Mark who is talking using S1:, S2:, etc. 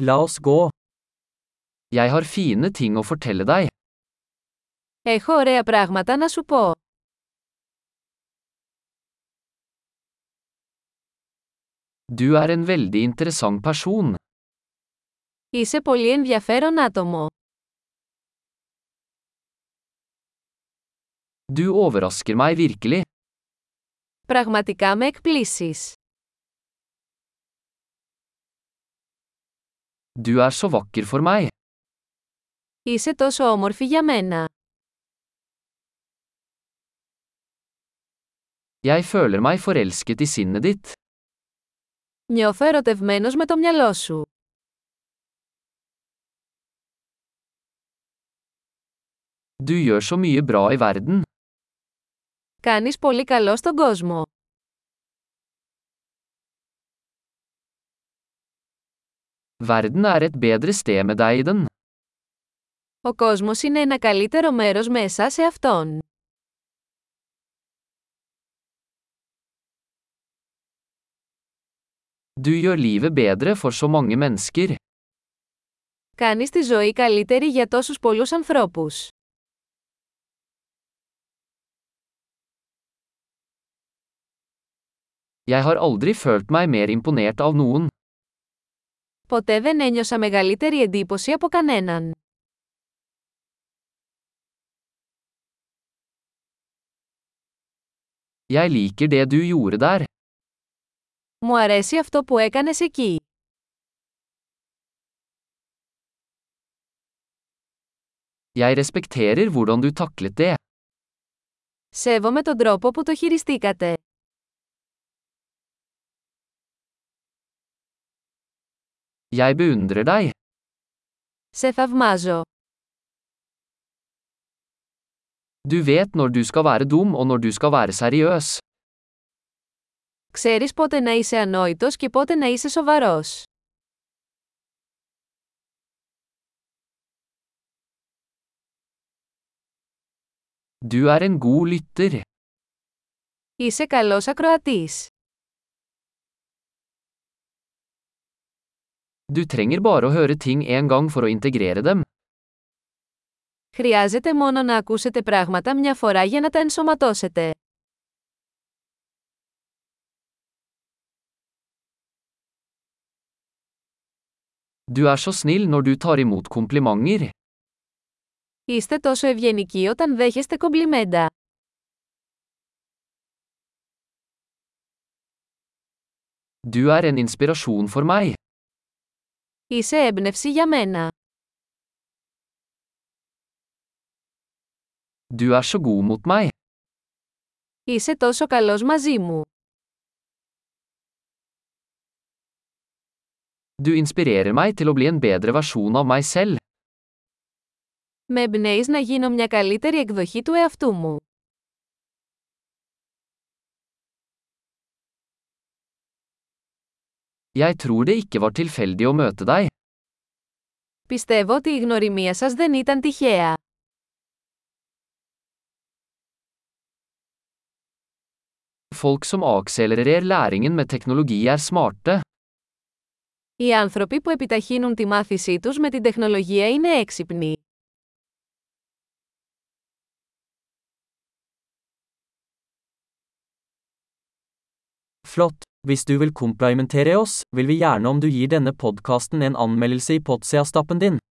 S1: La oss gå. Jeg har fine ting å fortelle deg.
S2: Έχω ωραία πράγματα να σου πω.
S1: Du er en veldig interessant person.
S2: Είσαι πολύ ενδιαφέρον άτομο.
S1: Du overrasker meg virkelig.
S2: Πραγματικά με εκπλήσεις.
S1: Du er så vakker for meg.
S2: Είσαι τόσο όμορφη για μένα.
S1: Jeg føler meg forelsket i sinnet ditt.
S2: Νιώθω ερωτευμένος με το μυαλό σου.
S1: Du gjør så mye bra i verden.
S2: Κάνεις πολύ καλό στον κόσμο.
S1: Verden er et bedre sted med deg i den.
S2: Ο κόσμος είναι ένα καλύτερο μέρος με εσάς σε αυτόν.
S1: Du gjør livet bedre for så mange mennesker.
S2: Κάνεις τη ζωή καλύτερη για τόσους πολλούς ανθρώπους.
S1: Jeg har aldri følt meg mer imponert av noen.
S2: Ποτέ δεν ένιωσα μεγαλύτερη εντύπωση από κανέναν.
S1: Jeg liker det du gjorde der.
S2: Μου αρέσει αυτό που έκανες εκεί.
S1: Jeg respekterer hvordan du taklet det.
S2: Σέβομαι τον τρόπο που το χειριστήκατε.
S1: Jeg beundrer deg.
S2: Σε θαυμάζω.
S1: Du vet når du skal være dum og når du skal være seriøs.
S2: Ξέρεις πότε να είσαι ανόητος και πότε να είσαι σοβαρός.
S1: Du er en god lytter.
S2: Είσαι καλός ακροατής.
S1: Du trenger bare å høre ting en gang for å integrere dem.
S2: Χρειάζεται μόνο να ακούσετε πράγματα μια φορά για να τα ενσωματώσετε.
S1: Du er så snill når du tar imot komplimenter.
S2: Είστε τόσο ευγενικοί όταν δέχεστε κομπλιμέντα.
S1: Du er en inspirasjon for meg.
S2: Είσαι έμπνευση για μένα.
S1: Du er så god mot meg.
S2: Είσαι τόσο καλός μαζί μου.
S1: Du inspirerer meg til å bli en bedre versjon av meg selv.
S2: Με εμπνέεις να γίνω μια καλύτερη εκδοχή του εαυτού μου.
S1: Jeg tror det ikke var tilfeldig å møte deg.
S2: Πιστεύω ότι η γνωριμία σας δεν ήταν τυχαία.
S1: Folk som akselererer læringen med teknologi er smarte.
S2: Οι άνθρωποι που επιταχύνουν τη μάθησή τους με την τεχνολογία είναι έξυπνοι.
S3: Flott. Hvis du vil komplimentere oss, vil vi gjerne om du gir denne podkasten en anmeldelse i Potsia-stappen din.